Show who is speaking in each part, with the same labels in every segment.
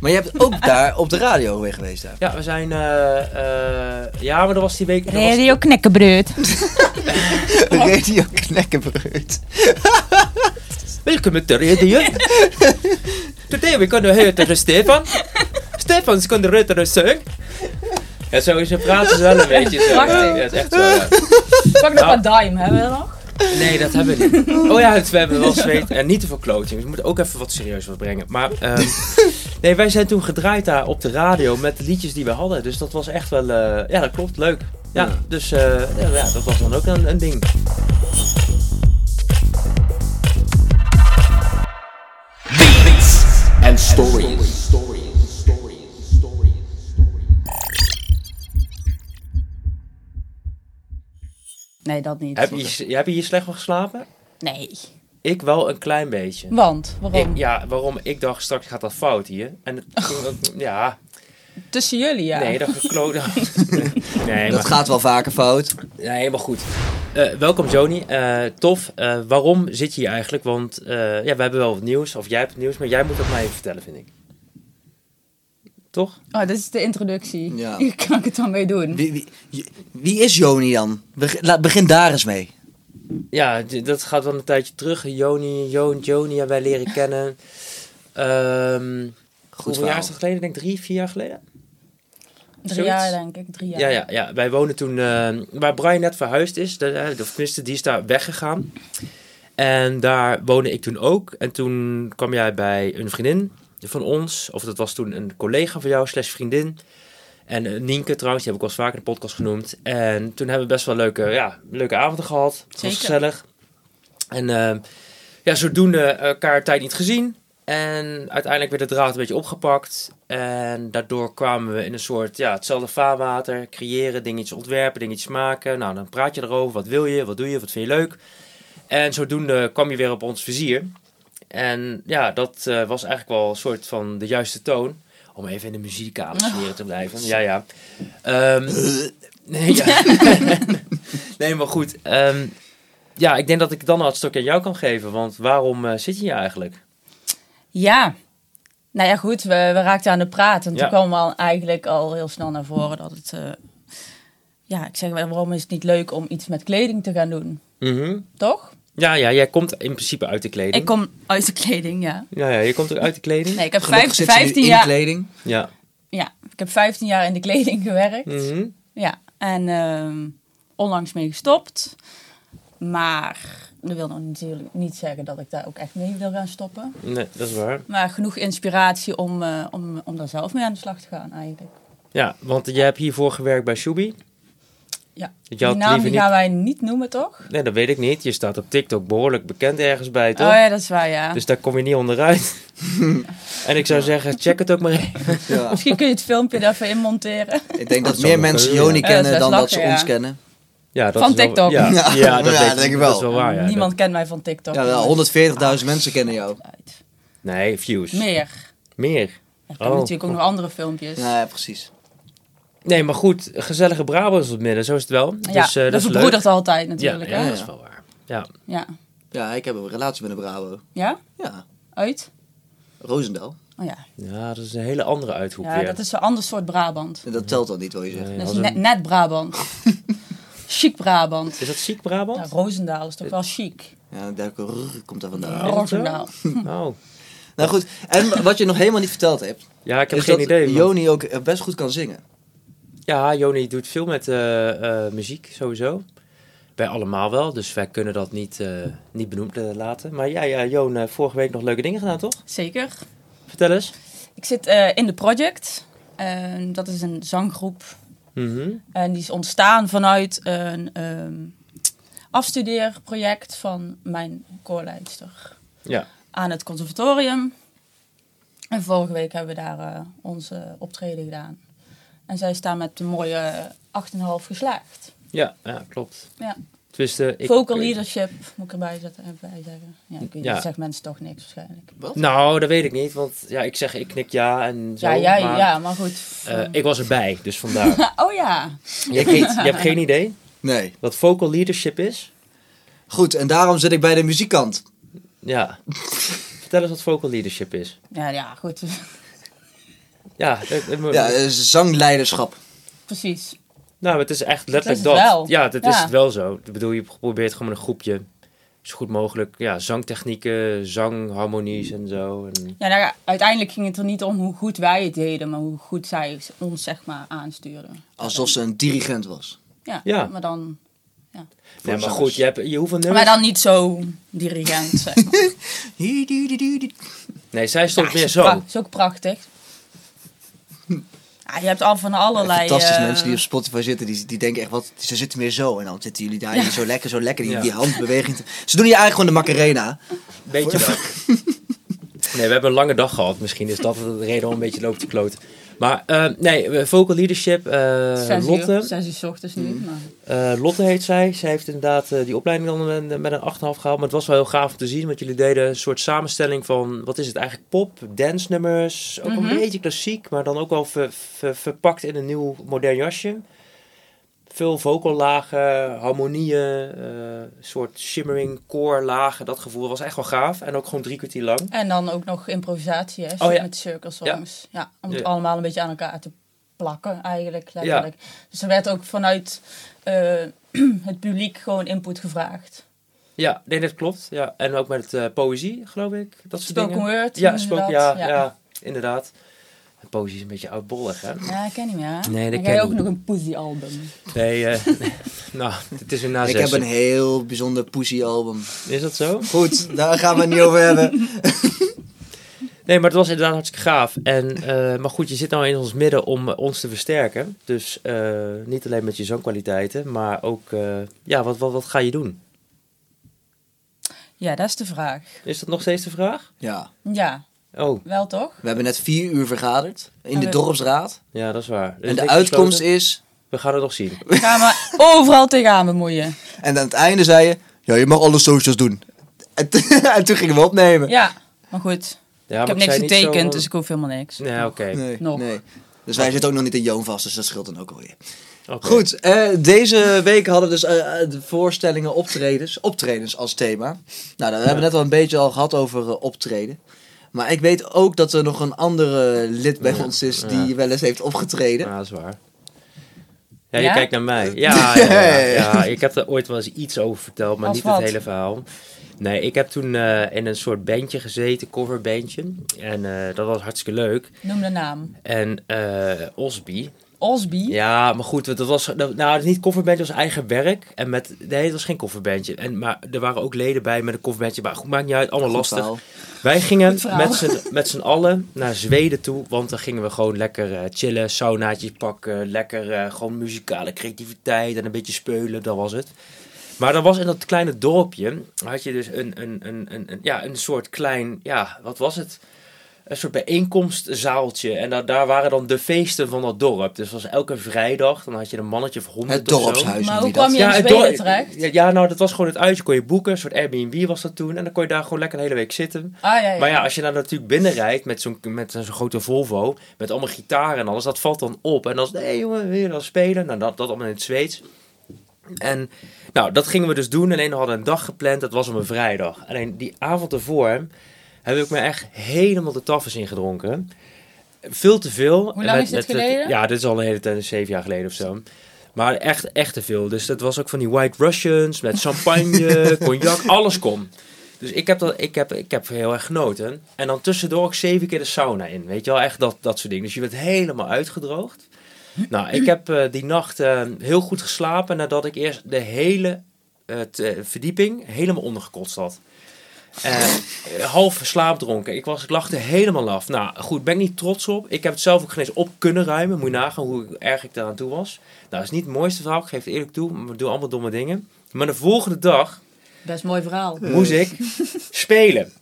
Speaker 1: Maar je hebt ook daar op de radio weer geweest. Daar.
Speaker 2: Ja, we zijn. eh, eh, ja, maar dat was die week. dat was-
Speaker 3: Radio Knekkenbreut.
Speaker 1: Radio Knekkenbreut.
Speaker 2: Welkom op de radio. Today we kunnen horen Stefan. Stefan is kunnen horen zingen. Ja, sowieso praten ze wel een beetje zo.
Speaker 3: Prachtig.
Speaker 2: Ja, het is echt zo. ja.
Speaker 3: Pak nog
Speaker 2: Nou.
Speaker 3: wat dime, hebben we nog?
Speaker 2: Nee, dat hebben we niet. Oh ja, het- we hebben wel zweet. En niet te veel kloten. Dus we moeten ook even wat serieus wat brengen. Maar ehm, nee, wij zijn toen gedraaid daar op de radio met de liedjes die we hadden. Dus dat was echt wel... eh, ja, dat klopt. Leuk. Ja,
Speaker 1: Ja.
Speaker 2: dus eh, ja, ja, dat was dan ook een, een ding.
Speaker 4: and stories.
Speaker 3: Nee, dat niet.
Speaker 2: Heb je, heb je hier slecht van geslapen?
Speaker 3: Nee.
Speaker 2: Ik wel een klein beetje.
Speaker 3: Want, waarom?
Speaker 2: Ik- ja, waarom? Ik dacht, straks gaat dat fout hier. En het- ja,
Speaker 3: Tussen jullie, ja.
Speaker 2: nee, dat gekloot. nee,
Speaker 1: Dat
Speaker 2: maar,
Speaker 1: gaat wel vaker fout.
Speaker 2: nee, maar goed. Eh, welkom Joni, Eh, tof. Eh, waarom zit je hier eigenlijk? Want eh, ja, we hebben wel wat nieuws, of jij hebt het nieuws, maar jij moet het mij even vertellen, vind ik. Toch?
Speaker 3: Oh, dat is de introductie.
Speaker 1: Ja.
Speaker 3: Hier kan ik het dan mee doen.
Speaker 1: Wie, wie, je- wie is Joni dan? Beg- laat- begin daar eens mee.
Speaker 2: Ja, d- dat gaat wel een tijdje terug. Joni, Joon, Joni hebben wij leren kennen. Ehm hoeveel
Speaker 1: verhaal.
Speaker 2: jaar is dat geleden? Ik denk drie, vier jaar geleden?
Speaker 3: Drie
Speaker 2: zoiets?
Speaker 3: jaar, denk ik. Drie jaar.
Speaker 2: Ja, ja, ja. Wij wonen toen eh, waar Brian net verhuisd is. De, eh, of tenminste, die is daar weggegaan. En daar woonde ik toen ook. En toen kwam jij bij een vriendin van ons. Of dat was toen een collega van jou, slash vriendin. En eh, Nienke trouwens, die heb ik al eens vaker in de podcast genoemd. En toen hebben we best wel leuke, ja, leuke avonden gehad. Het was
Speaker 3: Zeker.
Speaker 2: gezellig. En eh, ja, zodoende eh, elkaar een tijd niet gezien. En uiteindelijk werd de draad een beetje opgepakt. En daardoor kwamen we in een soort, ja, hetzelfde vaarwater. Creëren, dingetjes ontwerpen, dingetjes maken. Nou, dan praat je erover. Wat wil je? Wat doe je? Wat vind je leuk? En zodoende kwam je weer op ons vizier. En ja, dat eh, was eigenlijk wel een soort van de juiste toon. Om even in de muzikale
Speaker 3: Ah.
Speaker 2: sfeer te blijven. Ja, ja. Ehm, nee, ja. nee, maar goed. ehm, ja, ik denk dat ik dan al het stukje aan jou kan geven. Want waarom eh, zit je hier eigenlijk?
Speaker 3: Ja. Nou ja, goed, we, we raakten aan de praat. En
Speaker 2: Ja.
Speaker 3: toen kwam al eigenlijk al heel snel naar voren dat het... eh, ja, ik zeg wel, waarom is het niet leuk om iets met kleding te gaan doen? Toch?
Speaker 2: Ja, ja, jij komt in principe uit de kleding.
Speaker 3: Ik kom uit de kleding, ja.
Speaker 2: Ja, ja, je komt ook uit de kleding.
Speaker 3: Nee, ik heb
Speaker 1: Gelukkig
Speaker 3: vijf-
Speaker 1: zit ze nu
Speaker 3: 15
Speaker 1: in
Speaker 3: jaar...
Speaker 1: kleding.
Speaker 2: Ja.
Speaker 3: Ja, ik heb 15 jaar in de kleding gewerkt.
Speaker 2: Mhm.
Speaker 3: Ja, en ehm, onlangs mee gestopt. Maar dat wil nog natuurlijk niet zeggen dat ik daar ook echt mee wil gaan stoppen.
Speaker 2: Nee, dat is waar.
Speaker 3: Maar genoeg inspiratie om, eh, om, om daar zelf mee aan de slag te gaan eigenlijk.
Speaker 2: Ja, want jij hebt hiervoor gewerkt bij Shubi.
Speaker 3: Ja,
Speaker 2: Je
Speaker 3: die
Speaker 2: had
Speaker 3: naam
Speaker 2: liever
Speaker 3: die
Speaker 2: niet...
Speaker 3: gaan wij niet noemen, toch?
Speaker 2: Nee, dat weet ik niet. Je staat op TikTok behoorlijk bekend ergens bij, toch?
Speaker 3: Oh ja, dat is waar, ja.
Speaker 2: Dus daar kom je niet onderuit. en ik zou zeggen, check het ook maar even.
Speaker 1: Ja.
Speaker 3: Misschien kun je het filmpje daarvoor inmonteren.
Speaker 1: Ik denk dat
Speaker 2: zou
Speaker 1: meer
Speaker 2: nog
Speaker 1: mensen
Speaker 2: kunnen, ja.
Speaker 1: Joni
Speaker 3: Ja, dat is
Speaker 1: kennen
Speaker 3: best
Speaker 1: dan dat ze
Speaker 3: lachen, ja.
Speaker 1: ons kennen.
Speaker 2: Ja, dat
Speaker 3: Van
Speaker 2: is wel-
Speaker 3: TikTok.
Speaker 2: Ja,
Speaker 1: Ja,
Speaker 2: ja, dat,
Speaker 1: ja,
Speaker 2: weet
Speaker 1: dat
Speaker 2: ik,
Speaker 1: denk ik
Speaker 2: Dat
Speaker 1: wel.
Speaker 2: is wel waar, ja.
Speaker 3: Niemand kent mij van TikTok.
Speaker 1: Ja, wel 140.000 mensen kennen jou.
Speaker 3: Uit.
Speaker 2: Nee, views.
Speaker 3: Meer.
Speaker 2: Meer.
Speaker 3: Ja, Ik heb
Speaker 2: Oh.
Speaker 3: natuurlijk ook nog andere filmpjes.
Speaker 1: Ja, ja, precies.
Speaker 2: Nee, maar goed, gezellige Brabants op het midden, zo is het wel.
Speaker 3: Ja,
Speaker 2: dus, eh,
Speaker 3: dat,
Speaker 2: dat is leuk.
Speaker 3: verbroedert altijd
Speaker 2: Ja,
Speaker 3: natuurlijk.
Speaker 2: ja,
Speaker 3: hè?
Speaker 2: dat is wel waar. Ja.
Speaker 3: ja.
Speaker 1: Ja, ik heb een relatie met een Bravo.
Speaker 3: Ja?
Speaker 1: Ja,
Speaker 3: Uit?
Speaker 1: Roosendaal.
Speaker 3: Oh ja.
Speaker 2: ja, dat is een hele andere uithoek
Speaker 3: Ja,
Speaker 2: weer. Eh,
Speaker 3: dat is een ander soort Brabant.
Speaker 1: En dat telt dan niet, wil je zeggen.
Speaker 2: Nee,
Speaker 3: Dat
Speaker 2: als
Speaker 3: is
Speaker 2: een-
Speaker 3: net, net Brabant. chic Brabant.
Speaker 2: Is dat ziek
Speaker 3: Ja,
Speaker 2: Brabant?
Speaker 3: Roosendaal is toch wel chic?
Speaker 1: Ja, daar rrr, komt dat vandaan.
Speaker 3: Roosendaal.
Speaker 2: Oh.
Speaker 1: Nou goed, en wat je nog helemaal niet verteld hebt,
Speaker 2: Ja, ik heb
Speaker 1: is
Speaker 2: geen
Speaker 1: dat
Speaker 2: idee. want-
Speaker 1: Joni ook eh, best goed kan zingen.
Speaker 2: Ja, Joni doet veel met eh, eh, muziek sowieso. Wij allemaal wel, dus wij kunnen dat niet, eh, niet benoemd eh, laten. Maar ja, ja Joon, eh, vorige week nog leuke dingen gedaan, toch?
Speaker 3: Zeker.
Speaker 2: Vertel eens.
Speaker 3: Ik zit eh, in The Project. En dat is een zanggroep.
Speaker 2: Mhm.
Speaker 3: En die is ontstaan vanuit een ehm, afstudeerproject van mijn koorleidster
Speaker 2: Ja.
Speaker 3: aan het conservatorium. En vorige week hebben we daar eh, onze optreden gedaan. En zij staan met een mooie 8,5 geslaagd.
Speaker 2: Ja, ja, klopt.
Speaker 3: Ja.
Speaker 2: Tenminste, ik...
Speaker 3: Vocal leadership moet ik erbij zetten, erbij zeggen. Ja, ik weet,
Speaker 2: Ja.
Speaker 3: Dat zegt mensen toch niks waarschijnlijk.
Speaker 2: Nou, dat weet ik niet, want ja, ik zeg, ik knik ja en zo.
Speaker 3: ja, ja,
Speaker 2: maar,
Speaker 3: ja, maar goed.
Speaker 2: eh, ik was erbij, dus vandaar.
Speaker 3: oh ja.
Speaker 2: je, hebt geen, je hebt geen idee
Speaker 1: Nee.
Speaker 2: wat vocal leadership is?
Speaker 1: Goed, en daarom zit ik bij de muziekkant.
Speaker 2: Oh. Ja. Vertel eens wat vocal leadership is.
Speaker 3: Ja, ja, goed.
Speaker 2: Ja, het- het moet-
Speaker 1: Ja, eh, zangleiderschap.
Speaker 3: Precies.
Speaker 2: nou, het is echt letterlijk
Speaker 3: Dat
Speaker 2: dat.
Speaker 3: is het wel.
Speaker 2: Ja, dat is
Speaker 3: Ja.
Speaker 2: het wel zo. Ik bedoel, je probeert gewoon met een groepje zo goed mogelijk ja, zangtechnieken, zangharmonies en zo. En,
Speaker 3: Ja, nou ja, uiteindelijk ging het er niet om hoe goed wij het deden, maar hoe goed zij ons zeg maar aansturen.
Speaker 1: Alsof ze een dirigent was.
Speaker 3: Ja,
Speaker 2: Ja.
Speaker 3: maar dan,
Speaker 2: nee, maar
Speaker 1: zangers.
Speaker 2: goed, je, hebt, je hoeveel nummers...
Speaker 3: maar dan niet zo dirigent, zeg maar.
Speaker 2: Nee, zij stond
Speaker 3: Ja,
Speaker 2: meer
Speaker 3: is ook pra-
Speaker 2: zo.
Speaker 3: is ook prachtig. Ja, je hebt al van allerlei...
Speaker 1: Fantastische
Speaker 3: eh,
Speaker 1: mensen die op Spotify zitten, die, die denken echt wat, ze zitten meer zo. En dan zitten jullie daar
Speaker 3: Ja.
Speaker 1: hier zo lekker, zo lekker, die,
Speaker 2: Ja.
Speaker 1: die handbeweging. te- Ze doen je eigenlijk gewoon de Macarena.
Speaker 2: Beetje wel. Nee, we hebben een lange dag gehad. Misschien is dat de reden om een beetje loopt te kloten. Maar eh, nee, vocal leadership. eh,
Speaker 3: Zes uur,
Speaker 2: Lotte.
Speaker 3: zes uur 's ochtends nu. Maar,
Speaker 2: Eh, Lotte heet zij. Zij heeft inderdaad eh, die opleiding dan een- met een 8,5 gehaald. Maar het was wel heel gaaf om te zien. Want jullie deden een soort samenstelling van... Wat is het eigenlijk? Pop, dance nummers. Ook
Speaker 3: Mhm.
Speaker 2: een beetje klassiek. Maar dan ook wel ver- ver- verpakt in een nieuw modern jasje. Veel vocal lagen, harmonieën. eh, soort shimmering core lagen. Dat gevoel was echt wel gaaf. En ook gewoon drie kwartier lang.
Speaker 3: en dan ook nog improvisatie hè,
Speaker 2: Oh, ja.
Speaker 3: met circle songs. Ja. om het
Speaker 2: Ja.
Speaker 3: allemaal een beetje aan elkaar te plakken eigenlijk. Letterlijk. Dus er werd ook vanuit eh, het publiek gewoon input gevraagd.
Speaker 2: Ja, nee, dat klopt. Ja. En ook met eh, poëzie, geloof ik. Dat soort
Speaker 3: Spoken
Speaker 2: dingen.
Speaker 3: word
Speaker 2: Ja,
Speaker 3: noemen ze
Speaker 2: spoken-
Speaker 3: dat.
Speaker 2: ja, ja.
Speaker 3: ja.
Speaker 2: inderdaad. En poëzie is een beetje oudbollig, hè?
Speaker 3: Ja, ik ken niet meer. hè?
Speaker 2: Nee, dat
Speaker 3: Dan ga
Speaker 2: ken
Speaker 3: je
Speaker 2: ik
Speaker 3: ook
Speaker 2: niet.
Speaker 3: nog een poesie album.
Speaker 2: Nee, eh, nou, het is een na
Speaker 1: Ik heb een heel bijzonder Pussy album.
Speaker 2: Is dat zo?
Speaker 1: Goed, daar gaan we het niet over hebben.
Speaker 2: Nee, maar het was inderdaad hartstikke gaaf. En, eh, maar goed, je zit nou in ons midden om eh, ons te versterken. Dus eh, niet alleen met je zangkwaliteiten, maar ook, eh, ja, wat, wat, wat ga je doen?
Speaker 3: Ja, dat is de vraag.
Speaker 2: Is dat nog steeds de vraag?
Speaker 1: Ja,
Speaker 3: Ja,
Speaker 2: Oh,
Speaker 3: wel toch?
Speaker 1: we hebben net vier uur vergaderd in
Speaker 3: En
Speaker 1: de
Speaker 3: we-
Speaker 1: dorpsraad.
Speaker 2: ja, dat is waar. Er is
Speaker 1: En de
Speaker 2: niks
Speaker 1: uitkomst
Speaker 2: besloten.
Speaker 1: is...
Speaker 2: We gaan het nog zien.
Speaker 3: Ik ga me overal tegenaan bemoeien.
Speaker 1: En aan het einde zei je, ja, je mag alle socials doen. En, en toen gingen we opnemen.
Speaker 3: Ja, maar goed.
Speaker 2: Ja,
Speaker 3: ik heb niks getekend, dus ik hoef helemaal niks.
Speaker 2: Nee, oké.
Speaker 1: Nee,
Speaker 3: Nog.
Speaker 1: nee. Dus wij zitten ook nog niet in Joon vast, dus dat scheelt dan ook alweer.
Speaker 2: Oké.
Speaker 1: Goed, eh, deze week hadden we dus eh, eh, de voorstellingen optredens, optredens als thema. Nou, daar hebben we net al een beetje al gehad over eh, optreden. Maar ik weet ook dat er nog een andere lid bij
Speaker 2: Ja,
Speaker 1: ons is
Speaker 2: ja.
Speaker 1: die wel eens heeft opgetreden.
Speaker 2: Ja, dat Ah, is waar. Ja, je
Speaker 3: Ja?
Speaker 2: kijkt naar mij. Ja, ja, ja,
Speaker 1: Ja, ja,
Speaker 2: ja,
Speaker 1: ja.
Speaker 2: ik heb er ooit wel eens iets over verteld, maar
Speaker 3: Als
Speaker 2: niet
Speaker 3: wat?
Speaker 2: het hele verhaal. Nee, ik heb toen eh, in een soort bandje gezeten, coverbandje. En eh, dat was hartstikke leuk.
Speaker 3: Noem de naam.
Speaker 2: En eh Osby.
Speaker 3: Osby.
Speaker 2: Ja, maar goed, dat was. dat- Nou, het is niet coverbandje, het was eigen werk. En met. Nee, het was geen coverbandje. En, maar er waren ook leden bij met een coverbandje. Maar goed, maakt niet uit, allemaal
Speaker 1: Goed
Speaker 2: lastig.
Speaker 1: verhaal.
Speaker 2: Wij gingen
Speaker 3: Goed verhaal.
Speaker 2: met z'n, met z'n allen naar Zweden toe, want dan gingen we gewoon lekker eh, chillen, saunaatjes pakken, lekker eh, gewoon muzikale creativiteit en een beetje speulen, dat was het. Maar dan was in dat kleine dorpje, had je dus een, een, een, een, een- ja, een soort klein, ja, wat was het? Een soort bijeenkomstzaaltje. En da- daar waren dan de feesten van dat dorp. Dus dat was elke vrijdag, dan had je een mannetje of honderd
Speaker 1: Het
Speaker 2: of zo.
Speaker 1: dorpshuis.
Speaker 3: Maar
Speaker 1: noem
Speaker 3: hoe
Speaker 1: je dat?
Speaker 3: kwam je in
Speaker 2: het
Speaker 3: Zweden
Speaker 2: dorp-
Speaker 3: terecht?
Speaker 2: Ja, ja, nou, dat was gewoon het uitje. Kon je boeken, een soort Airbnb was dat toen. En dan kon je daar gewoon lekker een hele week zitten.
Speaker 3: Ah, ja, ja.
Speaker 2: Maar ja, als je daar natuurlijk binnenrijdt met zo'n met zo'n grote Volvo, met allemaal gitaren en alles, dat valt dan op. En dan is het, nee jongen, wil je dan spelen? Nou, dat, dat allemaal in het Zweeds. En nou, dat gingen we dus doen. Alleen we hadden een dag gepland, dat was op een vrijdag. Alleen die avond ervoor heb ik me echt helemaal de taffes ingedronken. Veel te veel.
Speaker 3: Hoe
Speaker 2: En
Speaker 3: lang is dit geleden?
Speaker 2: ja, dit is al een hele tijd, zeven jaar geleden of zo. Maar echt, echt te veel. Dus dat was ook van die White Russians met champagne, cognac, alles kon. Dus ik heb, dat, ik, heb, ik heb heel erg genoten. En dan tussendoor ook zeven keer de sauna in. Weet je wel, echt dat, dat soort dingen. Dus je bent helemaal uitgedroogd.
Speaker 3: Hm?
Speaker 2: Nou, ik heb eh, die nacht eh, heel goed geslapen nadat ik eerst de hele eh, t- eh, verdieping helemaal ondergekotst had. Eh, half slaapdronken. Ik, was, ik lag er helemaal af. Nou goed, ben ik niet trots op. Ik heb het zelf ook geen eens op kunnen ruimen. Moet je nagaan hoe erg ik daaraan toe was. Nou, dat is niet het mooiste verhaal. Ik geef het eerlijk toe. We doen allemaal domme dingen. Maar de volgende dag
Speaker 3: Best mooi verhaal.
Speaker 2: moest ik spelen.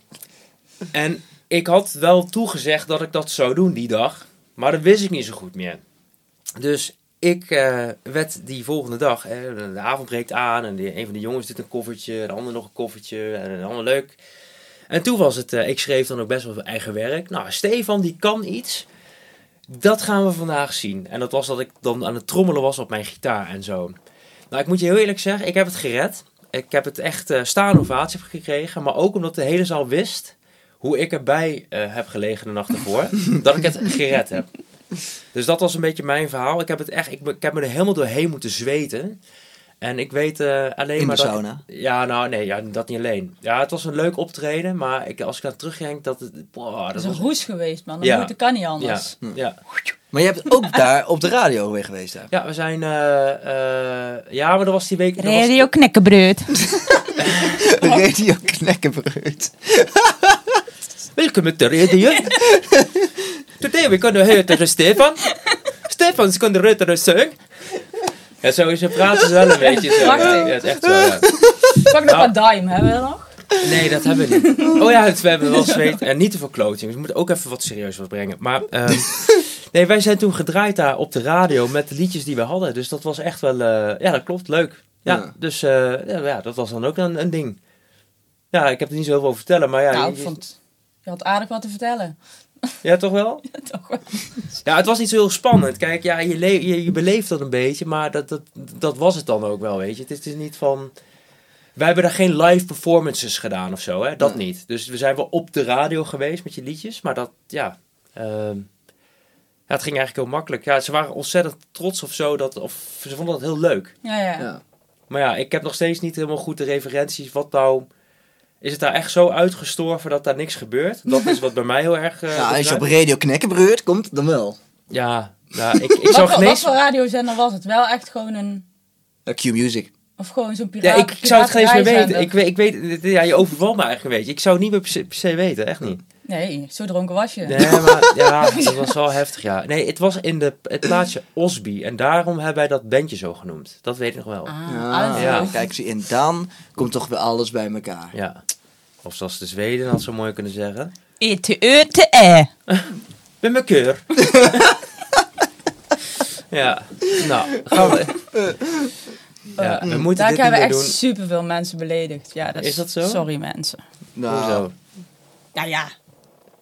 Speaker 2: En ik had wel toegezegd dat ik dat zou doen die dag. Maar dat wist ik niet zo goed meer. Dus ik eh, werd die volgende dag, eh, de avond breekt aan en die, een van de jongens doet een koffertje, de ander nog een koffertje en allemaal leuk. En toen was het, eh, ik schreef dan ook best wel veel eigen werk. Nou, Stefan die kan iets. Dat gaan we vandaag zien. En dat was dat ik dan aan het trommelen was op mijn gitaar en zo. Nou, ik moet je heel eerlijk zeggen, ik heb het gered. Ik heb het echt eh staande ovatie gekregen. Maar ook omdat de hele zaal wist hoe ik erbij eh, heb gelegen de nacht ervoor. dat ik het gered heb. Dus dat was een beetje mijn verhaal. Ik heb, het echt, ik, be- ik heb me er helemaal doorheen moeten zweten. En ik weet eh, alleen
Speaker 1: In de
Speaker 2: maar dat...
Speaker 1: sauna.
Speaker 2: Ja, nou nee, ja, dat niet alleen. Ja, het was een leuk optreden, maar ik, als ik aan terugdenk, dat het... boah,
Speaker 3: Dat
Speaker 2: dat
Speaker 3: is een
Speaker 2: was...
Speaker 3: roes geweest, man. Dat,
Speaker 2: Ja.
Speaker 3: moet, dat kan niet
Speaker 2: Ja,
Speaker 3: anders.
Speaker 2: ja.
Speaker 1: Maar je hebt ook daar op de radio weer geweest. Daar.
Speaker 2: ja, we zijn... eh, eh, ja, maar dat was die week... dat was-
Speaker 3: knekkenbreut.
Speaker 1: Radio Knekkenbreut.
Speaker 2: Welkom terug, Dion. Today we kunnen horen Stefan. Stefan is kunnen horen zingen. Ja, sowieso praten ze wel een beetje zo. Ja,
Speaker 3: Prachtig.
Speaker 2: ja, het is echt zo, ja.
Speaker 3: Pak nog
Speaker 2: Nou.
Speaker 3: wat dime, hebben we dat nog?
Speaker 2: Nee, dat hebben we niet. Oh ja, het, we hebben wel zweet. En niet te veel kloting. Dus we moeten ook even wat serieus wat brengen. Maar ehm, nee, wij zijn toen gedraaid daar op de radio met de liedjes die we hadden. Dus dat was echt wel... eh, ja, dat klopt. Leuk. Ja,
Speaker 1: Ja.
Speaker 2: dus eh, ja, ja, dat was dan ook een, een ding. Ja, ik heb er niet zoveel over te vertellen. Maar ja,
Speaker 3: nou,
Speaker 2: je-
Speaker 3: ik vond... Je had aardig wat te vertellen.
Speaker 2: ja toch wel?
Speaker 3: Toch wel.
Speaker 2: Ja, het was niet zo heel spannend. Kijk, ja, je, le- je, je beleeft dat een beetje, maar dat, dat, dat was het dan ook wel, weet je. Het is, het is niet van... Wij hebben daar geen live performances gedaan of zo, hè. Dat
Speaker 1: Nee.
Speaker 2: niet. Dus we zijn wel op de radio geweest met je liedjes, maar dat, ja... ehm, ja, het ging eigenlijk heel makkelijk. Ja, ze waren ontzettend trots of zo, dat, of ze vonden dat heel leuk.
Speaker 3: Ja, ja.
Speaker 1: Ja.
Speaker 2: Maar ja, ik heb nog steeds niet helemaal goed de referenties. Wat nou... Is het daar echt zo uitgestorven dat daar niks gebeurt? Dat is wat bij mij heel erg... eh,
Speaker 1: Ja, als je op
Speaker 2: opdraait.
Speaker 1: Radio Knekkenbreut komt, dan wel.
Speaker 2: ja, nou, ik, ik
Speaker 3: Wat,
Speaker 2: zag
Speaker 3: voor,
Speaker 2: geen
Speaker 3: wat voor radiozender was het? Wel echt gewoon een...
Speaker 1: Ja, Q-Music.
Speaker 3: Of gewoon zo'n
Speaker 2: Ja,
Speaker 3: piraat.
Speaker 2: ik, ik zou het geen eens meer weten.
Speaker 3: piratenrijzender.
Speaker 2: Ik, weet- ik weet, dit- ja, je overvalt me eigenlijk een beetje. Ik zou het niet meer per se, per se weten, echt niet.
Speaker 3: Nee, zo dronken was je.
Speaker 2: Nee, maar ja, dat was wel heftig, ja. Nee, het was in de, het plaatsje Osby. En daarom hebben wij dat bandje zo genoemd. Dat weet ik nog wel.
Speaker 3: Ah,
Speaker 1: Ah,
Speaker 2: Ja.
Speaker 3: ja.
Speaker 1: Kijk, zie, en dan komt toch weer alles bij elkaar.
Speaker 2: Ja. Of zoals de Zweden had zo mooi kunnen zeggen.
Speaker 3: Ete, ete, eh.
Speaker 2: Met mijn keur. ja, nou, gaan we. Ja, we moeten
Speaker 3: mm,
Speaker 2: dit
Speaker 3: Daar
Speaker 2: niet
Speaker 3: hebben
Speaker 2: meer
Speaker 3: echt
Speaker 2: doen.
Speaker 3: superveel mensen beledigd. Ja, dat is,
Speaker 2: Is dat zo?
Speaker 3: Sorry mensen.
Speaker 1: Nou,
Speaker 2: Hoezo?
Speaker 3: Nou ja.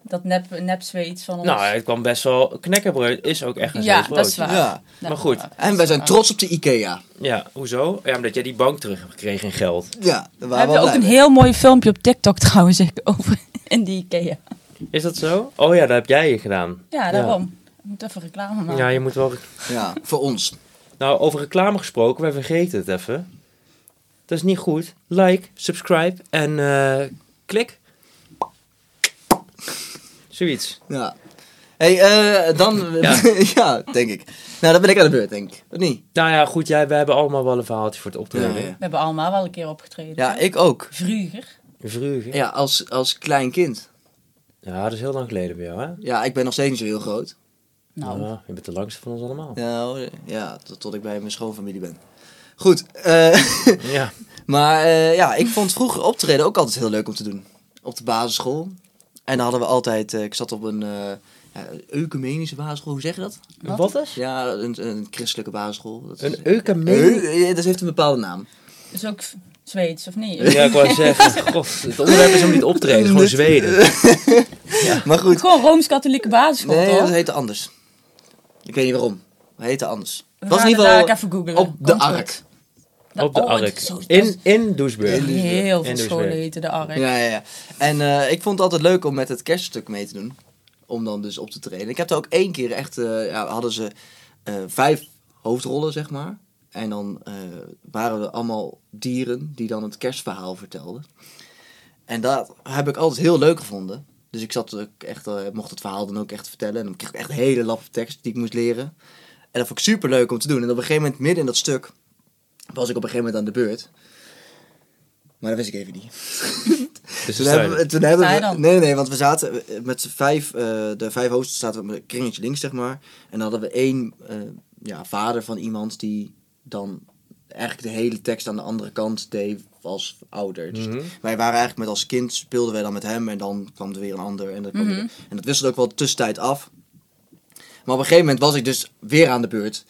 Speaker 3: Dat nep, nep Zweeds van ons.
Speaker 2: Nou, het kwam best wel... Knekkerbreud is ook echt een
Speaker 3: ja,
Speaker 2: Zweeds
Speaker 3: dat is
Speaker 2: broodje.
Speaker 3: waar.
Speaker 1: Ja.
Speaker 3: Dat
Speaker 2: Maar
Speaker 3: is
Speaker 2: goed.
Speaker 3: waar.
Speaker 1: En wij zijn trots op de IKEA.
Speaker 2: Ja, hoezo? Ja, omdat jij die bank terug hebt gekregen in geld.
Speaker 1: Ja, daar
Speaker 3: We
Speaker 1: waren
Speaker 3: hebben
Speaker 1: wel
Speaker 3: ook
Speaker 1: blij
Speaker 3: een
Speaker 1: mee.
Speaker 3: heel mooi filmpje op TikTok trouwens ik, over in die IKEA.
Speaker 2: Is dat zo? Oh ja, dat heb jij gedaan.
Speaker 3: Ja, daarom. Ik moet even reclame
Speaker 2: Nou. Ja,
Speaker 3: maken.
Speaker 2: je moet wel...
Speaker 1: Ja, voor ons.
Speaker 2: Nou, over reclame gesproken, wij vergeten het even. Dat is niet goed. Like, subscribe en eh, klik. Zoiets.
Speaker 1: Ja. hey, eh, dan... Ja.
Speaker 2: Ja.
Speaker 1: denk ik. Nou, dan ben ik aan de beurt, denk ik. Of niet?
Speaker 2: Nou ja, goed, jij, wij hebben allemaal wel een verhaaltje voor het
Speaker 1: Ja,
Speaker 2: optreden.
Speaker 1: ja.
Speaker 3: We hebben allemaal wel een keer opgetreden.
Speaker 1: ja ik ook.
Speaker 3: Vroeger.
Speaker 2: Vroeger. Ja.
Speaker 1: Ja, als, als klein kind.
Speaker 2: dat is heel lang geleden bij jou, hè?
Speaker 1: Ja, ik ben nog steeds niet zo heel groot.
Speaker 3: Nou,
Speaker 2: Ja, je bent de langste van ons allemaal.
Speaker 1: Nou, ja, tot, tot ik bij mijn schoonfamilie ben. Goed, eh...
Speaker 2: Ja.
Speaker 1: Maar eh, ja, ik vond vroeger optreden ook altijd heel leuk om te doen. Op de basisschool. En dan hadden we altijd... eh, ik zat op een eh ja, ecumenische basisschool, hoe zeg je dat?
Speaker 2: Wat, is?
Speaker 1: Ja, een, een christelijke basisschool. Dat is,
Speaker 2: Een eukamee?
Speaker 1: Eu- eh, dat heeft een bepaalde naam.
Speaker 3: is ook v- Zweeds of niet?
Speaker 2: Ja, ik wou zeggen. God, het onderwerp is om niet optreden, het is gewoon Zweden.
Speaker 1: Maar goed.
Speaker 3: Gewoon Rooms-Katholieke basisschool,
Speaker 1: Nee,
Speaker 3: toch?
Speaker 1: dat heette anders. Ik weet niet waarom. Het heette anders.
Speaker 3: We
Speaker 1: Het was in
Speaker 3: gaan
Speaker 1: ieder
Speaker 3: het
Speaker 1: geval
Speaker 3: dadelijk even googlen.
Speaker 1: op de
Speaker 3: Komt goed.
Speaker 1: ark.
Speaker 2: Op de
Speaker 3: oh, het
Speaker 2: Ark.
Speaker 3: is zo- dat is-
Speaker 2: In, in Doesburg.
Speaker 3: Heel
Speaker 2: In
Speaker 3: veel
Speaker 2: Doesburg.
Speaker 3: scholen heten de Ark.
Speaker 1: Ja, ja, ja. En eh, ik vond het altijd leuk om met het kerststuk mee te doen. Om dan dus op te treden. Ik heb er ook één keer echt... eh, ja, hadden ze eh, vijf hoofdrollen, zeg maar. En dan eh, waren er allemaal dieren die dan het kerstverhaal vertelden. En dat heb ik altijd heel leuk gevonden. Dus ik zat ook echt, eh, mocht het verhaal dan ook echt vertellen. En dan kreeg ik echt een hele lap tekst die ik moest leren. En dat vond ik super leuk om te doen. En op een gegeven moment, midden in dat stuk, was ik op een gegeven moment aan de beurt. Maar dat wist ik even niet.
Speaker 2: Dus
Speaker 1: Toen
Speaker 2: we zijn-
Speaker 1: hebben, we- toen hebben
Speaker 3: Sta je
Speaker 1: we,
Speaker 3: dan?
Speaker 1: nee, nee, want we zaten eh, met z'n vijf, eh, de vijf hosts zaten we een kringetje links, zeg maar. En dan hadden we één eh, ja, vader van iemand die dan eigenlijk de hele tekst aan de andere kant deed als ouder. Dus
Speaker 2: Mhm.
Speaker 1: wij waren eigenlijk met als kind, speelden wij dan met hem en dan kwam er weer een ander. En, dan kwam er-
Speaker 3: Mhm.
Speaker 1: en dat wisselde ook wel de tussentijd af. Maar op een gegeven moment was ik dus weer aan de beurt.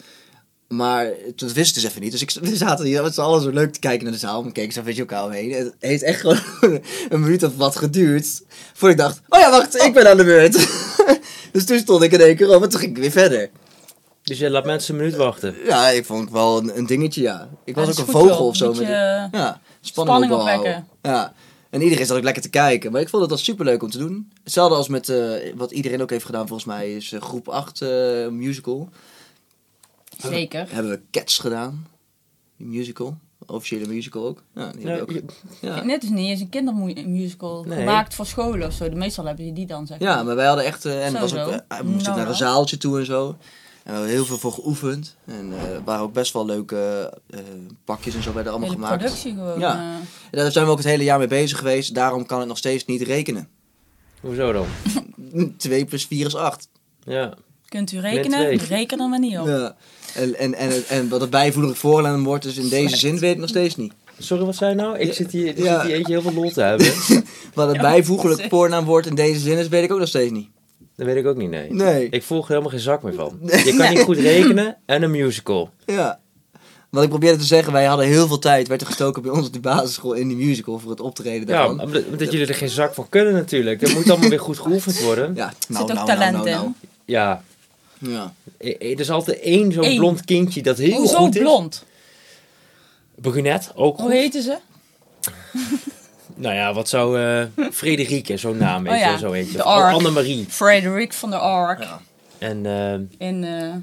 Speaker 1: Maar dat wist ik dus even niet. Dus ik, we zaten hier met z'n allen zo leuk te kijken naar de zaal. We keken zo een beetje elkaar omheen. En Het heeft echt gewoon een minuut of wat geduurd. Voordat ik dacht, oh ja, wacht, ik ben aan de beurt. dus toen stond ik in één keer op en toen ging ik weer verder.
Speaker 2: Dus je laat mensen een minuut wachten.
Speaker 1: Ja, ik vond het wel een, een dingetje, ja. dus Ik was
Speaker 3: Ja,
Speaker 1: ook
Speaker 3: dat
Speaker 1: een
Speaker 3: is goed
Speaker 1: vogel
Speaker 3: wel.
Speaker 1: of zo.
Speaker 3: Moet
Speaker 1: Met
Speaker 3: je-
Speaker 1: ja, spanning,
Speaker 3: spanning
Speaker 1: opbouwen.
Speaker 3: opwekken.
Speaker 1: Ja. En iedereen zat ook lekker te kijken. Maar ik vond het al superleuk om te doen. Hetzelfde als met eh, wat iedereen ook heeft gedaan, volgens mij, is eh, groep 8 eh, musical.
Speaker 3: Zeker.
Speaker 1: Hebben we Cats gedaan. Die musical. Officiële musical ook. Ja, die hebben we ook.
Speaker 2: Nee,
Speaker 1: Ja.
Speaker 3: Net is niet eens een kindermusical
Speaker 2: Nee.
Speaker 3: gemaakt voor scholen of zo. De meestal hebben je die dan, zeg
Speaker 1: ja, maar wij hadden echt... eh, en het was ook,
Speaker 3: Sowieso.
Speaker 1: eh, we moesten ook
Speaker 3: Nou,
Speaker 1: naar een
Speaker 3: wel.
Speaker 1: zaaltje toe en zo. En we hebben heel veel voor geoefend. En eh, er waren ook best wel leuke eh, pakjes en zo werden allemaal
Speaker 3: Hele
Speaker 1: gemaakt.
Speaker 3: productie gewoon. eh.
Speaker 1: Ja.
Speaker 3: Ja.
Speaker 1: En daar zijn we ook het hele jaar mee bezig geweest. Daarom kan het nog steeds niet rekenen.
Speaker 2: Hoezo dan?
Speaker 1: 2 plus 4 is 8.
Speaker 2: Ja.
Speaker 3: kunt u
Speaker 2: twee.
Speaker 3: rekenen? Reken er maar niet op.
Speaker 1: Ja. En, en, en, het- en wat het bijvoeglijk voornaam wordt, is in deze zin weet ik het nog steeds niet.
Speaker 2: Sorry, wat zei je nou? Ik zit hier, er
Speaker 1: Ja.
Speaker 2: zit hier eentje heel veel lol te hebben.
Speaker 1: Wat het bijvoeglijk voornaamwoord in deze zin is, weet ik ook nog steeds niet.
Speaker 2: Dat weet ik ook niet, nee.
Speaker 1: Nee.
Speaker 2: Ik volg er helemaal geen zak meer van. Je kan niet goed rekenen en een musical.
Speaker 1: Ja. Wat ik probeerde te zeggen, wij hadden heel veel tijd, werd er gestoken bij ons op de basisschool in die musical voor het optreden
Speaker 2: Ja,
Speaker 1: daarvan.
Speaker 2: omdat, omdat jullie er geen zak van kunnen natuurlijk. Dat moet allemaal weer goed geoefend worden.
Speaker 1: Ja, nou,
Speaker 3: Er zit ook talent in.
Speaker 2: Ja,
Speaker 1: Ja.
Speaker 2: e- e- er is altijd één zo'n
Speaker 3: Eén.
Speaker 2: blond kindje dat heel
Speaker 3: Hoezo
Speaker 2: goed is.
Speaker 3: blond?
Speaker 2: Brunet, ook goed.
Speaker 3: Hoe heten ze?
Speaker 2: Nou ja, wat zou eh Frederike, zo'n naam heet
Speaker 3: Oh
Speaker 2: je,
Speaker 3: ja,
Speaker 2: zo heet je.
Speaker 3: de
Speaker 2: Of
Speaker 3: Ark.
Speaker 2: Annemarie.
Speaker 3: Frederik van der Ark.
Speaker 1: Ja.
Speaker 2: En eh,
Speaker 3: In, eh,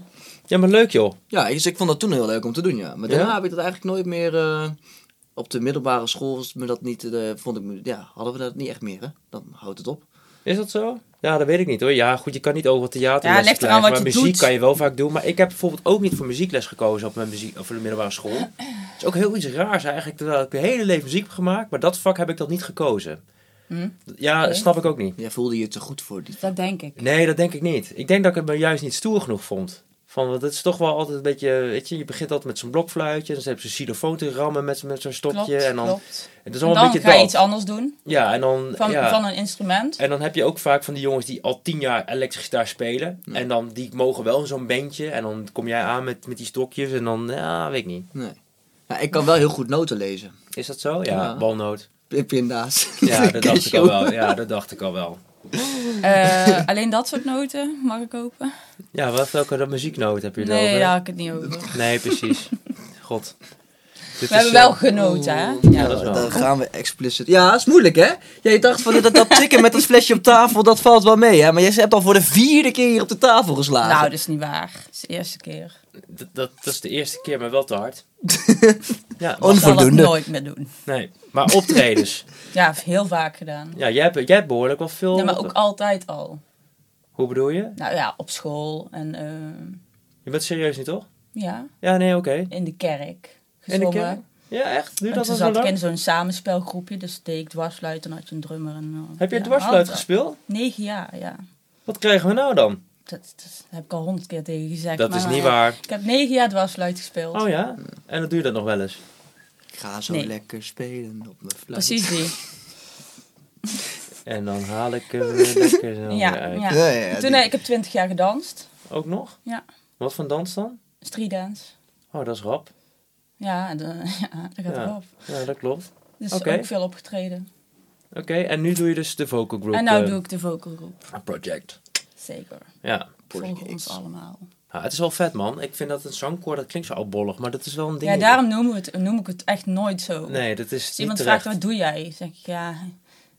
Speaker 2: ja, maar leuk joh.
Speaker 1: Ja, dus ik vond dat toen heel leuk om te doen, ja. Maar
Speaker 2: Ja?
Speaker 1: daarna heb ik dat eigenlijk nooit meer... eh, op de middelbare school was me dat niet, eh, vond ik, me- ja, hadden we dat niet echt meer, hè? Dan houdt het op.
Speaker 2: Is dat zo? Ja, dat weet ik niet hoor. Ja, goed, je kan niet overal theater
Speaker 3: Ja, ligt eraan
Speaker 2: krijgen,
Speaker 3: wat
Speaker 2: maar
Speaker 3: je
Speaker 2: muziek
Speaker 3: doet.
Speaker 2: kan je wel vaak doen. Maar ik heb bijvoorbeeld ook niet voor muziekles gekozen op mijn muziek, of voor de middelbare school. Dat is ook heel iets raars eigenlijk, terwijl ik mijn hele leven muziek heb gemaakt, maar dat vak heb ik dat niet gekozen.
Speaker 3: Hm?
Speaker 2: Ja,
Speaker 3: Oké.
Speaker 2: snap ik ook niet.
Speaker 1: Jij voelde je te goed voor die
Speaker 3: dat denk ik.
Speaker 2: Nee, dat denk ik niet. Ik denk dat ik het me juist niet stoer genoeg vond. Van, want het is toch wel altijd een beetje, weet je, je begint altijd met zo'n blokfluitje, dan heb je zo'n xylofoon te rammen met, met zo'n stokje.
Speaker 3: Klopt,
Speaker 2: en dan,
Speaker 3: klopt.
Speaker 2: Het is
Speaker 3: En
Speaker 2: allemaal
Speaker 3: dan
Speaker 2: een beetje
Speaker 3: ga je
Speaker 2: dat.
Speaker 3: iets anders doen.
Speaker 2: Ja, en dan...
Speaker 3: Van,
Speaker 2: ja.
Speaker 3: van een instrument.
Speaker 2: En dan heb je ook vaak van die jongens die al tien jaar elektrische gitaar spelen. En dan die mogen wel in zo'n bandje. En dan kom jij aan met, met die stokjes. En dan, ja, weet ik niet.
Speaker 1: Nee. Ja, ik kan wel heel goed noten lezen.
Speaker 2: Is dat zo? Ja,
Speaker 1: Ja.
Speaker 2: balnoot.
Speaker 1: P- Pinda's.
Speaker 2: Ja, dat dacht ik al
Speaker 1: Cashew.
Speaker 2: wel. Ja, dat dacht ik al wel.
Speaker 3: Eh, alleen dat soort noten mag ik kopen.
Speaker 2: Ja, wat welke dat muzieknoot heb je erover?
Speaker 3: Nee, daar had ik het niet over.
Speaker 2: Nee, precies. God. Dit
Speaker 3: We hebben
Speaker 2: eh,
Speaker 3: wel genoten, hè?
Speaker 2: Oh. Ja,
Speaker 1: Ja,
Speaker 2: dat is wel.
Speaker 1: dan gaan we explicit. Ja, is moeilijk hè? Jij dacht van dat, dat tikken met dat flesje op tafel, dat valt wel mee hè? Maar jij hebt al voor de vierde keer hier op de tafel geslagen.
Speaker 3: Nou, dat is niet waar. Dat is de eerste keer.
Speaker 2: Dat, dat, dat is de eerste keer, maar wel te hard. ja,
Speaker 1: Oh,
Speaker 3: Ik zal dat
Speaker 1: Onvoldoende.
Speaker 3: nooit meer doen.
Speaker 2: nee. Maar optredens.
Speaker 3: Ja, heel vaak gedaan.
Speaker 2: Ja, jij hebt, jij hebt behoorlijk wel veel...
Speaker 3: Ja, maar ook altijd al.
Speaker 2: Hoe bedoel je?
Speaker 3: Nou ja, op school en eh,
Speaker 2: Je bent serieus niet, toch?
Speaker 3: ja,
Speaker 2: Ja, nee, oké.
Speaker 3: in de kerk
Speaker 2: En de
Speaker 3: gezongen.
Speaker 2: kerk? Ja, echt? Duurt
Speaker 3: En
Speaker 2: dat
Speaker 3: toen
Speaker 2: al zo
Speaker 3: zat ik in
Speaker 2: lang?
Speaker 3: zo'n samenspelgroepje, dus deed ik dwarsfluit en had je een drummer. En, eh,
Speaker 2: Heb je
Speaker 3: ja,
Speaker 2: dwarsfluit
Speaker 3: altijd.
Speaker 2: gespeeld?
Speaker 3: Negen jaar, ja.
Speaker 2: Wat krijgen we nou dan?
Speaker 3: Dat, dat heb ik al honderd keer tegen je gezegd.
Speaker 2: Dat
Speaker 3: maar
Speaker 2: is
Speaker 3: nou
Speaker 2: niet
Speaker 3: ja.
Speaker 2: waar.
Speaker 3: Ik heb negen jaar dwarsfluit gespeeld.
Speaker 2: Oh ja? En dat duurt dat nog wel eens.
Speaker 1: Ik ga zo
Speaker 3: Nee.
Speaker 1: lekker spelen op mijn fluit.
Speaker 3: Precies die.
Speaker 2: En dan haal ik hem weer lekker zo
Speaker 3: Ja,
Speaker 2: uit.
Speaker 1: Ja, ja,
Speaker 3: ja.
Speaker 1: ja,
Speaker 3: Toen,
Speaker 1: die-
Speaker 3: eh, ik heb twintig jaar gedanst.
Speaker 2: Ook nog?
Speaker 3: Ja.
Speaker 2: Wat van dans dan?
Speaker 3: Streetdance.
Speaker 2: Oh, dat is rap.
Speaker 3: Ja, en, eh, ja, dat gaat
Speaker 2: Ja.
Speaker 3: erop.
Speaker 2: Ja, dat klopt.
Speaker 3: Dus
Speaker 2: Oké.
Speaker 3: ook veel opgetreden.
Speaker 2: Oké, en nu doe je dus de vocal group.
Speaker 3: en nou
Speaker 2: eh,
Speaker 3: doe ik de vocal group.
Speaker 2: Project.
Speaker 3: Zeker.
Speaker 2: Ja.
Speaker 1: Project
Speaker 3: Volg ons
Speaker 1: X.
Speaker 3: allemaal.
Speaker 2: Ja, het is wel vet, man. Ik vind dat een zangkoor, dat klinkt zo oudbollig, maar dat is wel een ding.
Speaker 3: Ja, daarom noem ik, het, noem ik het echt nooit zo.
Speaker 2: Nee, dat is
Speaker 3: Als
Speaker 2: niet
Speaker 3: Dus iemand
Speaker 2: terecht.
Speaker 3: vraagt, wat doe jij? Zeg ik, ja...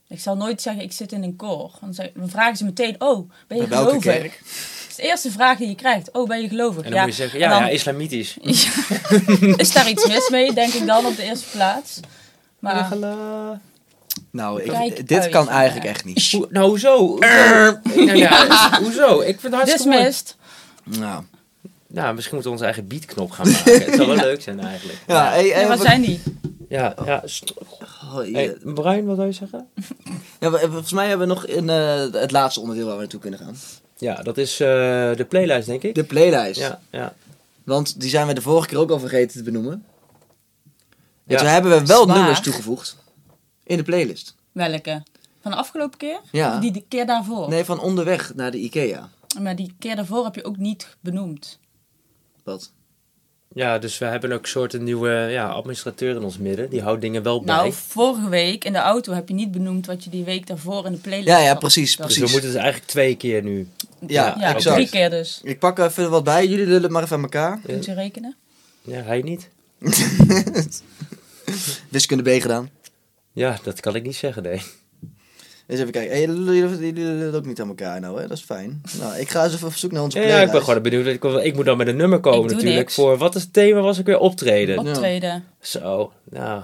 Speaker 3: Ik zal nooit zeggen, ik zit in een koor. Want dan zeg- dan vragen ze meteen, oh, ben je
Speaker 1: Bij welke
Speaker 3: gelovig?
Speaker 1: kerk?
Speaker 3: Dat is de eerste vraag die je krijgt. Oh, ben je gelovig?
Speaker 2: En dan moet je zeggen,
Speaker 3: en
Speaker 2: ja,
Speaker 3: dan-
Speaker 2: ja, islamitisch.
Speaker 3: Ja. is daar iets mis mee, denk ik dan, op de eerste plaats? Maar
Speaker 2: Regala.
Speaker 1: Nou, ik-
Speaker 3: Kijk
Speaker 1: dit
Speaker 3: uit,
Speaker 1: kan
Speaker 3: ja.
Speaker 1: eigenlijk echt niet.
Speaker 2: Hoe- nou, hoezo? Hoezo? Nou ja, hoezo? Ik vind het
Speaker 3: dus
Speaker 2: hartstikke mooi.
Speaker 3: dismissed.
Speaker 1: Nou.
Speaker 2: Nou, misschien moeten we onze eigen beatknop gaan maken. Het zou wel leuk zijn eigenlijk.
Speaker 1: Ja, hey, hey,
Speaker 3: Ja, wat
Speaker 1: wat-
Speaker 3: zijn die?
Speaker 2: Ja, ja. st-
Speaker 1: Oh, hier.
Speaker 2: Hey, Brian, wat wil je zeggen?
Speaker 1: Ja, we- volgens mij hebben we nog in, eh, het laatste onderdeel waar we naartoe kunnen gaan.
Speaker 2: Ja, dat is eh, de playlijst, denk ik.
Speaker 1: De playlijst.
Speaker 2: Ja, ja.
Speaker 1: Want die zijn we de vorige keer ook al vergeten te benoemen. En
Speaker 2: Ja.
Speaker 1: toen hebben we wel
Speaker 3: Zwaar.
Speaker 1: nummers toegevoegd. In de playlist.
Speaker 3: Welke? Van de afgelopen keer?
Speaker 1: Ja.
Speaker 3: Of die de keer daarvoor?
Speaker 1: Nee, van onderweg naar de IKEA.
Speaker 3: Maar die keer daarvoor heb je ook niet benoemd.
Speaker 1: Wat?
Speaker 2: ja, dus we hebben ook een soort een nieuwe ja, administrateur in ons midden. Die houdt dingen wel bij. Dus
Speaker 3: Nou, vorige week in de auto heb je niet benoemd wat je die week daarvoor in de playlist
Speaker 1: Ja, ja,
Speaker 3: had.
Speaker 1: precies,
Speaker 3: Dat-
Speaker 2: dus
Speaker 1: precies.
Speaker 2: we moeten het eigenlijk twee keer nu.
Speaker 1: Ja,
Speaker 3: Ja,
Speaker 1: exact.
Speaker 3: drie keer dus.
Speaker 1: Ik pak even wat bij. Jullie lullen het maar even aan elkaar.
Speaker 3: Kunt u rekenen?
Speaker 2: Ja, hij niet.
Speaker 1: Wiskunde B gedaan.
Speaker 2: Ja, dat kan ik niet zeggen, nee.
Speaker 1: Eens even kijken. Hey, jullie jullie- jullie lullen ook niet aan elkaar nou, hè? Dat is fijn. Nou, ik ga eens even op zoek naar onze
Speaker 2: Ja, ja, ik ben
Speaker 1: playlist.
Speaker 2: gewoon benieuwd. Ik, ik moet dan met een nummer komen
Speaker 3: Ik doe
Speaker 2: natuurlijk.
Speaker 3: niks.
Speaker 2: Voor wat is het thema was ik weer? Optreden.
Speaker 1: Op-
Speaker 3: Optreden.
Speaker 2: Zo, nou.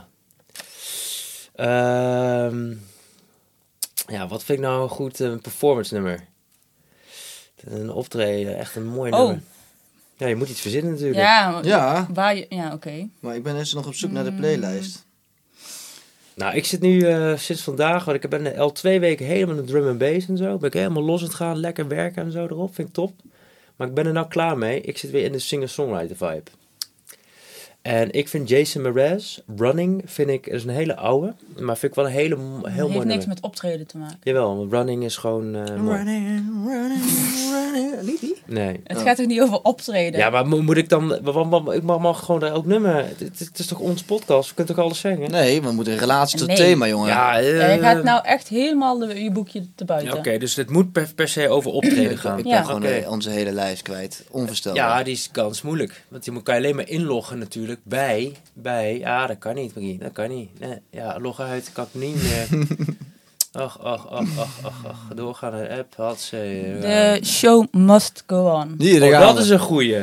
Speaker 2: Ehm, ja, wat vind ik nou een goed eh, performance nummer? Een optreden, echt een mooi
Speaker 3: Oh.
Speaker 2: nummer. Ja, je moet iets verzinnen natuurlijk.
Speaker 3: Ja,
Speaker 1: Ja,
Speaker 2: Ah.
Speaker 3: waar je... Ja, oké.
Speaker 1: maar ik ben eens nog op zoek naar de playlist.
Speaker 2: Nou, ik zit nu eh, sinds vandaag, want ik ben eh, al twee weken helemaal in drum en bass en zo. Ben ik helemaal los aan het gaan, lekker werken en zo erop. Vind ik top. Maar ik ben er nou klaar mee. Ik zit weer in de singer-songwriter vibe. En ik vind Jason Mraz, Running, vind ik, is een hele oude. Maar vind ik wel een hele, heel mooi
Speaker 3: Het heeft niks
Speaker 2: nummer.
Speaker 3: met optreden te maken.
Speaker 2: Jawel, want Running is gewoon eh, mooi.
Speaker 1: Running, running, running. Niet die?
Speaker 2: Nee.
Speaker 3: Het
Speaker 1: Oh.
Speaker 3: gaat toch niet over optreden?
Speaker 2: Ja, maar mo- moet ik dan... wa- wa- wa- Ik mag, mag gewoon daar ook nummer... Het, het- het is toch ons podcast? We kunnen toch alles zeggen?
Speaker 1: Nee, we moeten in relatie tot het
Speaker 3: Nee.
Speaker 1: thema, jongen.
Speaker 2: Ja, Nou, eh,
Speaker 3: Ja, je gaat nou echt helemaal de- je boekje te
Speaker 2: Ja,
Speaker 3: buiten.
Speaker 2: Oké, dus het moet per, per se over optreden
Speaker 1: Ik
Speaker 2: gaan.
Speaker 1: ben
Speaker 3: Ja.
Speaker 1: gewoon
Speaker 2: Oké.
Speaker 1: eh, onze hele lijst kwijt. Onvoorstelbaar.
Speaker 2: Ja, die is kans moeilijk. Want die moet- kan je alleen maar inloggen natuurlijk bij... bij ja, dat kan niet, Marie. Dat kan niet. Nee, ja, loggen uit kan ik niet meer. ach, ach, ach, ach, ach, ach. Doorgaan naar de app. Had ze...
Speaker 3: De show must go on.
Speaker 1: Hier, daar
Speaker 2: Oh,
Speaker 1: gaan
Speaker 2: dat
Speaker 1: we.
Speaker 2: is een goeie.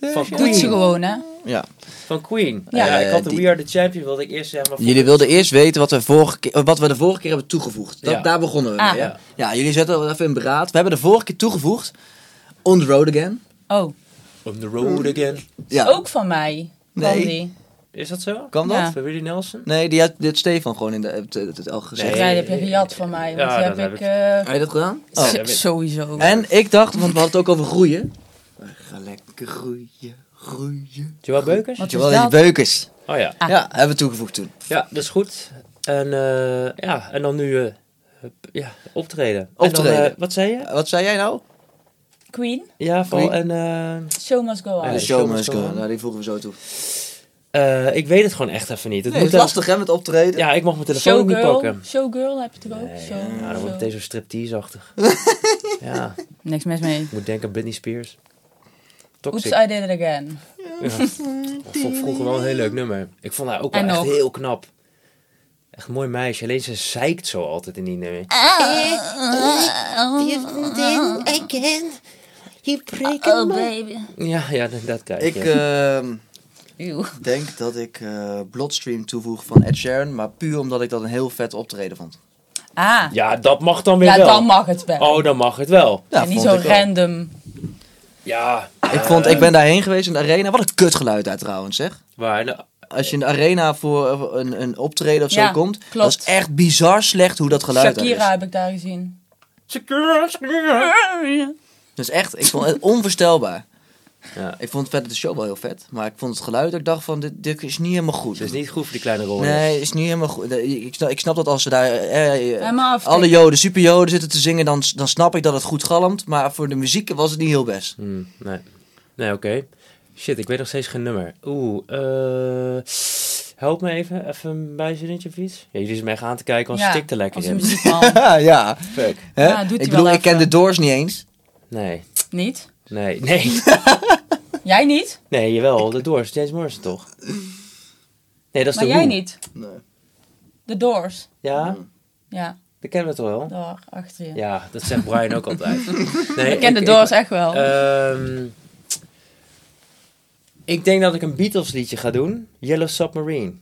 Speaker 2: Van
Speaker 3: Doet ze
Speaker 2: Queen.
Speaker 3: gewoon, hè?
Speaker 1: Ja.
Speaker 2: Van Queen.
Speaker 3: Ja.
Speaker 2: Ja, ik had de
Speaker 1: Eh, die-
Speaker 2: We Are The Champion, wilde ik eerst zeggen. Maar
Speaker 1: Jullie wilden eerst weten wat we, vorige keer, wat we de vorige keer hebben toegevoegd. Dat,
Speaker 2: Ja.
Speaker 1: Daar begonnen we
Speaker 3: Ah.
Speaker 1: mee. hè?
Speaker 2: Ja.
Speaker 1: Ja, jullie zetten wel even in beraad. We hebben de vorige keer toegevoegd. On the road again.
Speaker 3: Oh,
Speaker 2: On the road again.
Speaker 1: Ja.
Speaker 3: ook van mij. Van
Speaker 1: Nee.
Speaker 3: die.
Speaker 2: Is dat zo?
Speaker 1: Kan dat?
Speaker 3: Ja.
Speaker 2: Van Willie Nelson?
Speaker 1: Nee, die had dit Stefan gewoon in de, het, het, het al gezegd.
Speaker 3: Ja,
Speaker 2: Nee.
Speaker 3: die heb je gejat van mij. Want
Speaker 2: Ja,
Speaker 3: die
Speaker 2: dat
Speaker 3: heb
Speaker 2: heb
Speaker 3: ik...
Speaker 2: ik.
Speaker 1: Heb je dat gedaan?
Speaker 3: eh,
Speaker 1: Oh.
Speaker 3: s- Sowieso.
Speaker 1: En ik dacht, want we hadden het ook over groeien. We gaan lekker groeien, groeien.
Speaker 2: Joël Beukers?
Speaker 3: Wat is
Speaker 1: Terwijl die
Speaker 3: dat?
Speaker 1: beukers.
Speaker 2: Oh ja.
Speaker 3: Ah.
Speaker 1: Ja, hebben we toegevoegd toen.
Speaker 2: Ja, dat is goed. En, eh, ja, en dan nu eh, hup, ja, optreden. En
Speaker 1: Optreden.
Speaker 2: dan, eh, wat zei je?
Speaker 1: Eh, Wat zei jij nou?
Speaker 3: Queen,
Speaker 2: Ja,
Speaker 1: Wie?
Speaker 2: van, en, eh,
Speaker 3: show must go on.
Speaker 2: Ja,
Speaker 1: de
Speaker 2: de
Speaker 1: show
Speaker 2: show
Speaker 1: must
Speaker 2: must
Speaker 1: go
Speaker 2: go
Speaker 1: on.
Speaker 2: on.
Speaker 1: Nou, die voegen we zo toe.
Speaker 2: eh, ik weet het gewoon echt even niet.
Speaker 1: Nee,
Speaker 2: Het
Speaker 1: het
Speaker 2: moet
Speaker 1: is
Speaker 2: wel-
Speaker 1: lastig hè, met optreden.
Speaker 2: Ja, ik mag mijn telefoon niet
Speaker 3: Showgirl.
Speaker 2: pakken.
Speaker 3: Showgirl heb je toch ook?
Speaker 2: Nee,
Speaker 3: Show-
Speaker 2: ja, dan wordt
Speaker 3: show-
Speaker 2: het deze striptease-achtig. ja,
Speaker 3: Niks mis mee.
Speaker 2: ik moet denken aan Britney Spears.
Speaker 3: Oeps,
Speaker 2: Toxic.
Speaker 3: I did it again.
Speaker 2: Ja. Ik vond vroeger wel een heel leuk nummer. Ik vond haar ook wel
Speaker 3: En
Speaker 2: echt
Speaker 3: nog.
Speaker 2: heel knap. Echt een mooi meisje. Alleen ze zeikt zo altijd in die nummer.
Speaker 4: Then again, you break
Speaker 3: Oh baby.
Speaker 2: Ja, ja, dat, dat kijk
Speaker 1: Ik
Speaker 2: je.
Speaker 1: ehm,
Speaker 3: Ew.
Speaker 1: denk dat ik eh, Bloodstream toevoeg van Ed Sheeran. Maar puur omdat ik dat een heel vet optreden vond.
Speaker 3: Ah.
Speaker 2: ja, dat mag dan weer
Speaker 3: Ja,
Speaker 2: wel.
Speaker 3: dan mag het wel.
Speaker 2: Oh, dan mag het wel.
Speaker 1: Ja,
Speaker 3: en niet
Speaker 1: vond
Speaker 3: zo
Speaker 1: ik wel.
Speaker 3: random.
Speaker 2: Ja.
Speaker 1: Ik, vond, ik ben daarheen geweest in de arena. Wat een kutgeluid daar trouwens, zeg.
Speaker 2: Waar? Nou,
Speaker 1: Als je in de arena voor eh, een, een optreden of zo
Speaker 3: Ja,
Speaker 1: komt.
Speaker 3: klopt.
Speaker 1: Dat is echt bizar slecht hoe dat geluid daar
Speaker 3: Shakira
Speaker 1: is.
Speaker 3: heb ik daar gezien.
Speaker 2: Secure, secure.
Speaker 1: Dat is echt, ik vond het onvoorstelbaar.
Speaker 2: Ja.
Speaker 1: Ik vond verder de show wel heel vet. Maar ik vond het geluid, dat ik dacht van, dit, dit is niet helemaal goed.
Speaker 2: Het is niet goed voor die kleine rol.
Speaker 1: Nee, is niet helemaal goed. Nee, Ik snap, ik snap dat als ze daar eh, eh,
Speaker 3: Helemaal af.
Speaker 1: alle joden, superjoden zitten te zingen, dan, dan snap ik dat het goed galmt. Maar voor de muziek was het niet heel best.
Speaker 2: Hm, nee, nee oké. Shit, ik weet nog steeds geen nummer. Oeh, eh... Help me even, even een bijzinnetje of iets. Ja, jullie zijn mij gaan aan te kijken, want
Speaker 3: Ja,
Speaker 2: ze stikt er lekker
Speaker 3: als een
Speaker 2: in.
Speaker 3: muziekman.
Speaker 1: ja.
Speaker 2: Fuck.
Speaker 1: Hè?
Speaker 3: Ja, doet
Speaker 1: ik
Speaker 3: hij wel
Speaker 1: bedoel, ik
Speaker 3: even.
Speaker 1: ken de Doors niet eens.
Speaker 2: Nee,
Speaker 3: Niet?
Speaker 2: nee, nee.
Speaker 3: Jij niet?
Speaker 2: Nee, jawel, de Doors, James Morrison toch? Nee, dat is
Speaker 3: Maar
Speaker 2: de
Speaker 3: jij
Speaker 2: Who.
Speaker 3: niet. De Doors.
Speaker 2: Ja,
Speaker 3: Ja,
Speaker 2: dat kennen we toch wel?
Speaker 3: daar achter je.
Speaker 2: Ja, dat zegt Brian ook altijd. Nee,
Speaker 3: ik ken de Doors echt wel.
Speaker 2: Ehm, ik denk dat ik een Beatles liedje ga doen. Yellow Submarine.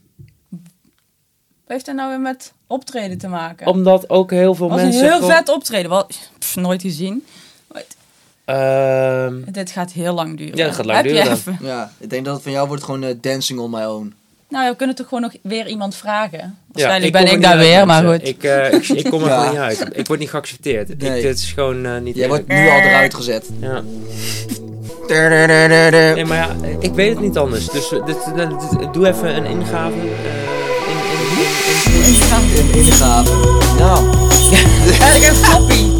Speaker 3: Wat heeft dat nou weer met optreden te maken?
Speaker 2: Omdat ook heel veel
Speaker 3: was een
Speaker 2: mensen...
Speaker 3: heel
Speaker 2: gewoon-
Speaker 3: vet optreden. Wel, pff, nooit gezien. Maar het-
Speaker 2: Ehm,
Speaker 3: dit gaat heel lang duren.
Speaker 2: Ja, dat gaat lang
Speaker 3: Heb je
Speaker 2: duren.
Speaker 3: even-
Speaker 1: Ja, ik denk dat het van jou wordt gewoon eh, Dancing on My Own.
Speaker 3: Nou, ja, we kunnen toch gewoon nog weer iemand vragen.
Speaker 2: ja,
Speaker 3: Waarschijnlijk
Speaker 2: kom
Speaker 3: ben
Speaker 2: er
Speaker 3: ik
Speaker 2: niet
Speaker 3: daar
Speaker 2: uit,
Speaker 3: weer, maar
Speaker 2: mensen.
Speaker 3: goed.
Speaker 2: Ik, eh, ik, ik kom er
Speaker 1: Ja.
Speaker 2: gewoon niet uit. Ik word niet geaccepteerd. Ik-
Speaker 1: Nee.
Speaker 2: dit is gewoon eh, niet...
Speaker 1: Jij wordt
Speaker 2: eerlijk.
Speaker 1: nu al eruit gezet.
Speaker 2: Ja. Nee,
Speaker 1: Eh,
Speaker 2: maar ja, ik weet het niet anders. Dus eh, dit, dit- dit- doe even een ingave. eh, in, in, in, in-
Speaker 3: Ik ga-
Speaker 1: In, in de gaaf. Nou,
Speaker 3: Eigenlijk een floppy.